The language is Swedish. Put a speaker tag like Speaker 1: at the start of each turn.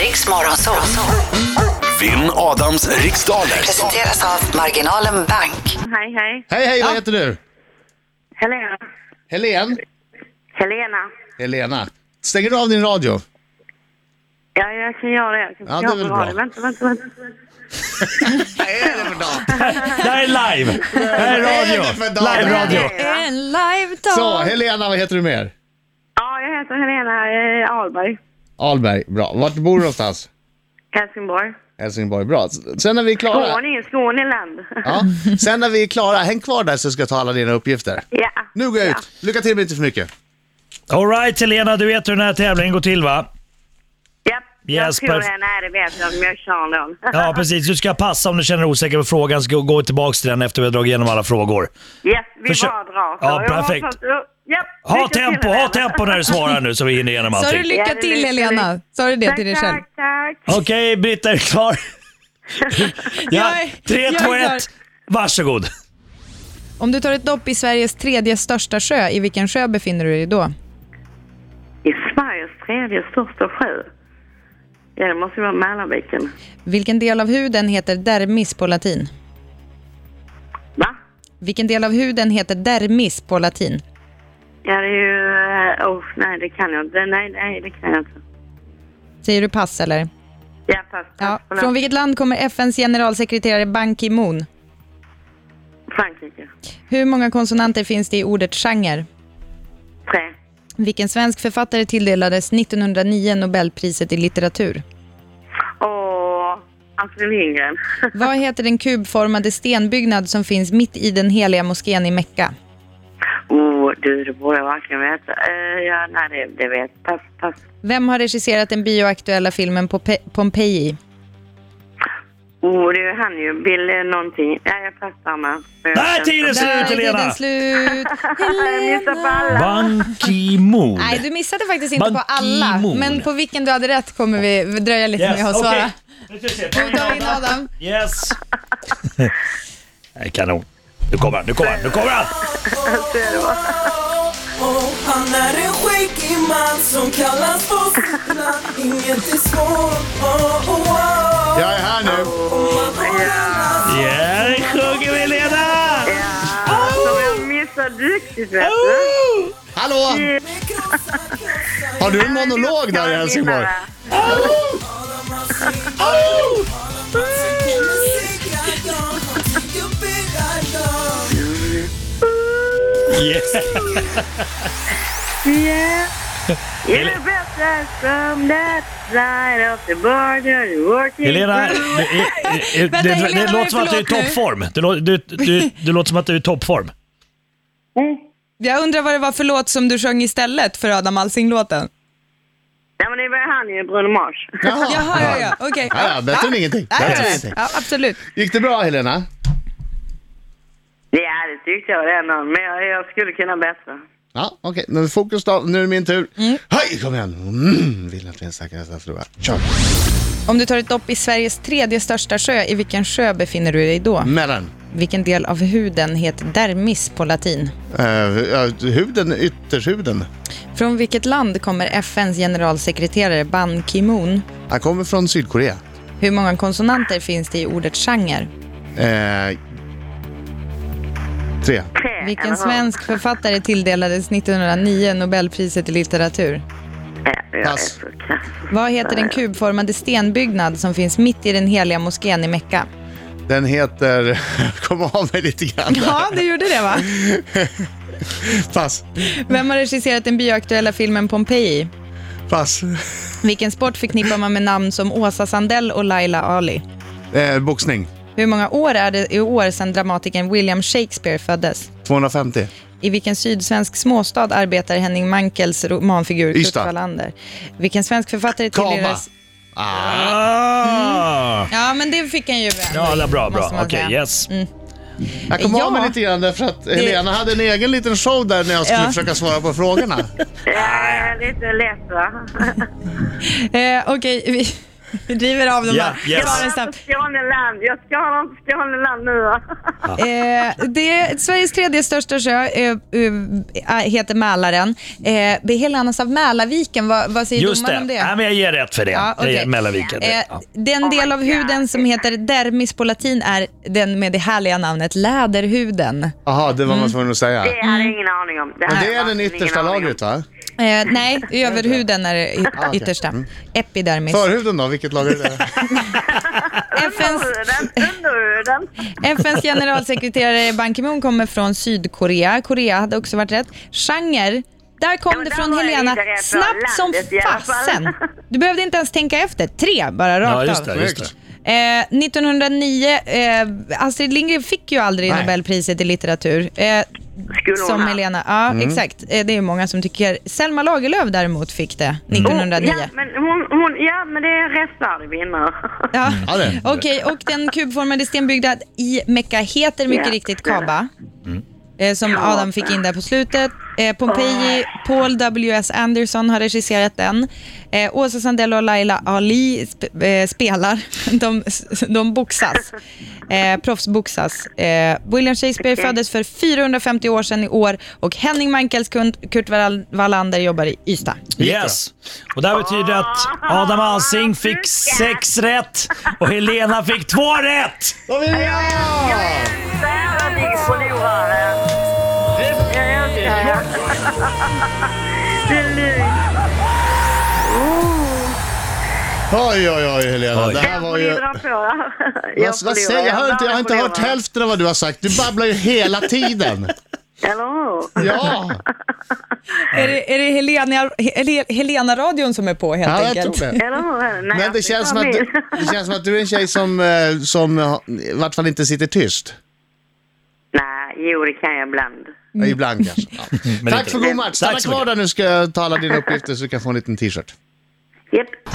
Speaker 1: Riks Morgonzoo.
Speaker 2: Vinn Adams riksdaler.
Speaker 1: Presenteras av Marginalen Bank.
Speaker 3: Hej, hej.
Speaker 4: Hej, hej, vad heter du?
Speaker 3: Helena.
Speaker 4: Helen?
Speaker 3: Helena.
Speaker 4: Helena. Stänger du av din radio?
Speaker 3: Ja, jag kan göra det. Jag kan
Speaker 4: Ja, det är väl
Speaker 3: göra
Speaker 4: bra.
Speaker 3: Vänta, vänta, vänta.
Speaker 5: Det här är live! Det här är radio!
Speaker 4: Det är för dagen.
Speaker 5: Live-radio!
Speaker 6: En live
Speaker 4: Så,
Speaker 6: dag.
Speaker 4: Helena, vad heter du mer?
Speaker 3: Ja, jag heter Helena eh, Ahlberg.
Speaker 4: Ahlberg, bra. Vart bor du någonstans?
Speaker 3: Helsingborg.
Speaker 4: Helsingborg, bra. Sen när vi är klara...
Speaker 3: Skåne, Skåneland.
Speaker 4: Ja. Sen när vi är klara, häng kvar där så ska jag ta alla dina uppgifter.
Speaker 3: Ja.
Speaker 4: Nu går jag
Speaker 3: Ja.
Speaker 4: ut. Lycka till men inte för mycket.
Speaker 5: Alright Helena, du vet hur den här tävlingen går till va?
Speaker 3: Japp,
Speaker 5: Yes,
Speaker 3: jag tror
Speaker 5: perf-
Speaker 3: jag när det vet jag, men jag kör någon.
Speaker 5: Ja precis, du ska passa om du känner dig osäker på frågan, ska gå tillbaka till den efter vi har dragit igenom alla frågor.
Speaker 3: Yes, vi
Speaker 5: Försök-
Speaker 3: bara drar.
Speaker 5: Ja, perfekt.
Speaker 3: Japp,
Speaker 5: Ha
Speaker 3: lycka till,
Speaker 5: tempo, ha
Speaker 3: Helena.
Speaker 5: tempo när du svarar nu så vi hinner igenom
Speaker 6: Sa du
Speaker 5: allting.
Speaker 3: Ja,
Speaker 6: lycka
Speaker 3: det
Speaker 6: till
Speaker 3: lyckas
Speaker 6: Helena? Sa du det till dig
Speaker 3: Tack,
Speaker 6: själv?
Speaker 3: tack, tack.
Speaker 5: Okej, Britta är du klar? Ja,
Speaker 6: Jag är-
Speaker 5: 3,
Speaker 6: jag är
Speaker 5: 2,
Speaker 6: klar.
Speaker 5: 1. Varsågod.
Speaker 6: Om du tar ett dopp i Sveriges tredje största sjö, i vilken sjö befinner du dig då?
Speaker 3: I Sveriges tredje största sjö. Ja, det måste ju vara Mälarviken.
Speaker 6: Vilken del av huden heter dermis på latin?
Speaker 3: Va?
Speaker 6: Vilken del av huden heter dermis på latin?
Speaker 3: Ja, det är ju... eh, Oh, nej, det kan jag inte. Nej, nej, det kan jag inte.
Speaker 6: Säger du pass eller?
Speaker 3: Ja, pass.
Speaker 6: Ja.
Speaker 3: pass förlåt.
Speaker 6: Från vilket land kommer FNs generalsekreterare Ban Ki-Moon?
Speaker 3: Frankrike.
Speaker 6: Hur många konsonanter finns det i ordet genre?
Speaker 3: Tre.
Speaker 6: Vilken svensk författare tilldelades 1909 Nobelpriset i litteratur?
Speaker 3: Och Astrid Lindgren.
Speaker 6: Vad heter den kubformade stenbyggnad som finns mitt i den heliga moskén i Mekka?
Speaker 3: Oh, du, det borde jag verkligen veta. Eh, ja, nej, det, det vet jag. Pass, pass.
Speaker 6: Vem har regisserat den bioaktuella filmen Pope- Pompeji?
Speaker 3: Oh, det är ju han ju. Bill eh, någonting. Ja, jag passar med.
Speaker 5: Nej, tiden är
Speaker 6: Där
Speaker 5: slut
Speaker 6: är tiden
Speaker 5: Helena!
Speaker 6: slut.
Speaker 3: Jag missar på alla.
Speaker 5: Ban Ki-Moon.
Speaker 6: Nej, du missade faktiskt inte
Speaker 5: Ban
Speaker 6: på alla.
Speaker 5: Ki-moon.
Speaker 6: Men på vilken du hade rätt kommer vi dröja lite med att svara.
Speaker 5: Nu ska vi se,
Speaker 6: God dag in Adam.
Speaker 5: Yes! Nej, kanon. Nu kommer han, nu kommer han, nu kommer han!
Speaker 7: Han är en skäggig man som kallas på skolan Inget är svårt, oh, oh, oh.
Speaker 4: Jag är här nu.
Speaker 5: Ja, nu sjunger vi Helena!
Speaker 3: Ja, som jag missar duktigt, vet du.
Speaker 5: Oh!
Speaker 4: Hallå! Har du en monolog där i Helsingborg?
Speaker 5: Oh! Yeah.
Speaker 3: Yeah. You're better from that side of the border you're working
Speaker 5: Helena, det,
Speaker 3: through.
Speaker 5: det, det,
Speaker 6: Vänta,
Speaker 5: det,
Speaker 6: Helena,
Speaker 5: det
Speaker 6: vad är
Speaker 5: låter som att du är i
Speaker 6: det för låt nu?
Speaker 5: toppform. Det, lå- du, du, det låter som att du är i toppform.
Speaker 6: Jag undrar vad det var för låt som du sjöng istället för Adam Alsing-låten.
Speaker 3: Nej, men det var han ju, Bruno Mars.
Speaker 4: Jaha.
Speaker 6: Jaha, ja, ja. Okej.
Speaker 4: Ja, ja, bättre än ingenting.
Speaker 6: Ja,
Speaker 4: Bättre än
Speaker 6: ja.
Speaker 4: ingenting.
Speaker 6: Ja, absolut.
Speaker 4: Gick det bra Helena?
Speaker 3: Ja, det tyckte jag det någon, men jag, jag skulle kunna bättre.
Speaker 4: Ja, okej. Nu Fokus då. Nu är det min tur. Hej, kom igen. Mm, vill att vi är säkra så tror jag. Kör.
Speaker 6: Om du tar ett dopp i Sveriges tredje största sjö, i vilken sjö befinner du dig då?
Speaker 4: Mellan.
Speaker 6: Vilken del av huden heter dermis på latin?
Speaker 4: Eh, eh, huden, ytterhuden.
Speaker 6: Från vilket land kommer FNs generalsekreterare Ban Ki-Moon?
Speaker 4: Han kommer från Sydkorea.
Speaker 6: Hur många konsonanter finns det i ordet genre?
Speaker 4: Eh, tre.
Speaker 3: Tre,
Speaker 6: Vilken
Speaker 3: eller hur?
Speaker 6: svensk författare tilldelades 1909 Nobelpriset i litteratur?
Speaker 3: Ja, jag är
Speaker 4: Pass.
Speaker 3: så kass.
Speaker 6: Vad heter den kubformade stenbyggnad som finns mitt i den heliga moskén i Mekka?
Speaker 4: Den heter... Kom av mig lite grann. där.
Speaker 6: Ja, det gjorde det va?
Speaker 4: Pass.
Speaker 6: Vem har regisserat den bioaktuella filmen Pompeji?
Speaker 4: Pass.
Speaker 6: Vilken sport förknippar man med namn som Åsa Sandell och Laila Ali?
Speaker 4: Eh, boxning.
Speaker 6: Hur många år är det i år sedan dramatikern William Shakespeare föddes?
Speaker 4: 250.
Speaker 6: I vilken sydsvensk småstad arbetar Henning Mankels romanfigur Kurt
Speaker 4: Ystad.
Speaker 6: Wallander? Vilken svensk författare
Speaker 4: Kama.
Speaker 6: tilldelades... Mm.
Speaker 5: Ah!
Speaker 6: Ja, men det fick han ju ändå
Speaker 5: Ja, alla bra, bra.
Speaker 6: måste man
Speaker 5: Okej,
Speaker 6: säga. Mm.
Speaker 5: yes.
Speaker 4: Jag kom
Speaker 6: Ja.
Speaker 4: av mig lite grann därför att Helena hade en egen liten show där när jag skulle
Speaker 6: Ja.
Speaker 4: försöka svara på frågorna.
Speaker 3: Ja, lite lätt va?
Speaker 6: Eh, Okej, vi... Vi driver av dem
Speaker 5: Ja,
Speaker 6: här.
Speaker 5: yes.
Speaker 6: Drar en snabb.
Speaker 3: Skåneland, jag ska ha dem till Skåneland nu.
Speaker 6: Eh, det är Sveriges tredje största sjö eh, eh, heter Mälaren. Eh, det helandas av Mälarviken. Vad, vad säger
Speaker 5: Just
Speaker 6: domaren
Speaker 5: det. Äh,
Speaker 6: om det?
Speaker 5: Nej, men jag ger rätt för det.
Speaker 6: Ja,
Speaker 5: Jag
Speaker 6: okej.
Speaker 5: ger Mellanviken.
Speaker 6: Eh,
Speaker 5: Ja.
Speaker 3: Oh
Speaker 6: Den del av huden som heter dermis på latin är den med det härliga namnet läderhuden. Eh,
Speaker 4: Jaha, det
Speaker 6: Mm.
Speaker 4: var man tvungen att säga.
Speaker 3: Det hade jag ingen aning om.
Speaker 4: Men
Speaker 3: hade
Speaker 4: det är
Speaker 3: jag
Speaker 4: den
Speaker 3: verkligen
Speaker 4: yttersta
Speaker 3: ingen aning om.
Speaker 4: lagret va?
Speaker 6: Eh, nej, överhuden är det
Speaker 4: Ah,
Speaker 6: yt-
Speaker 4: okej.
Speaker 6: yttersta.
Speaker 4: Mm.
Speaker 6: Epidermis.
Speaker 4: Förhuden då, vilket lager är det?
Speaker 6: FNs,
Speaker 3: Underhuden, underhuden.
Speaker 6: FNs generalsekreterare Ban Ki-Moon kommer från Sydkorea. Korea hade också varit rätt. Genre, där kom
Speaker 3: Ja, men
Speaker 6: det
Speaker 3: där
Speaker 6: från
Speaker 3: var jag
Speaker 6: Helena.
Speaker 3: vidare från
Speaker 6: Snabbt som
Speaker 3: landet i alla fall.
Speaker 6: fasen. Du behövde inte ens tänka efter. Tre bara rakt
Speaker 5: Ja, just
Speaker 6: av.
Speaker 5: det. Just det.
Speaker 6: Eh, 1909, eh, Astrid Lindgren fick ju aldrig
Speaker 4: Nej.
Speaker 6: Nobelpriset i litteratur. Eh,
Speaker 3: Skulle hon
Speaker 6: som
Speaker 3: ha.
Speaker 6: Helena, ja exakt. Eh, det är ju många som tycker. Selma Lagerlöf däremot fick det 1909.
Speaker 3: Ja, men hon, hon, ja, men det är en rättfärdig vinnare.
Speaker 6: Ja.
Speaker 4: Mm. Ja, det.
Speaker 6: Okej, och den kubformade stenbyggda i Mekka heter mycket
Speaker 3: Ja.
Speaker 6: riktigt Kaba.
Speaker 4: Mm.
Speaker 6: Eh, Som Adam fick in där på slutet. Eh, Pompeji, Paul W.S. Anderson har regisserat den. Eh, Åsa Sandell och Laila Ali sp- eh, spelar. De, de boxas. Eh, proffsboxas. Eh, William Shakespeare föddes för 450 år sedan i år och Henning Mankels kund- Kurt Wall- Wallander jobbar i Ystad.
Speaker 5: Yes. Och det här betyder att Adam Alsing fick sex rätt och Helena fick två rätt!
Speaker 4: Då vinner jag!
Speaker 3: Där ligger förloraren. Jag älskar er. Det är lugnt.
Speaker 4: Oj, oj, oj Helena.
Speaker 5: Oj.
Speaker 4: Det här
Speaker 3: Jag
Speaker 4: var ju...
Speaker 3: förlorar på. Jag
Speaker 4: Vad, vad
Speaker 3: förlorar.
Speaker 4: säger jag? Jag har inte, jag har inte
Speaker 3: förlorar.
Speaker 4: hört hälften av vad du har sagt. Du babblar ju hela tiden.
Speaker 3: Eller hur?
Speaker 4: Ja,
Speaker 6: Är det, är det Helena, Hel- Helena-radion som är på helt
Speaker 4: ja jag
Speaker 6: enkelt?
Speaker 4: tror det.
Speaker 3: Eller hur? Nej,
Speaker 4: Men det
Speaker 3: jag
Speaker 4: känns, som
Speaker 3: förlorar
Speaker 4: att du,
Speaker 3: min.
Speaker 4: det känns som att du är en tjej som, eh, som eh, i vart fall inte sitter tyst.
Speaker 3: Nej, jo det kan jag ibland.
Speaker 4: Ja, Ibland kanske. Ja.
Speaker 5: Mm. Men
Speaker 4: Tack
Speaker 5: inte-
Speaker 4: för god match. Stanna
Speaker 5: Tack så
Speaker 4: kvar
Speaker 5: mycket.
Speaker 4: där nu ska jag ta alla dina uppgifter så du kan få en liten t-shirt.
Speaker 3: Japp.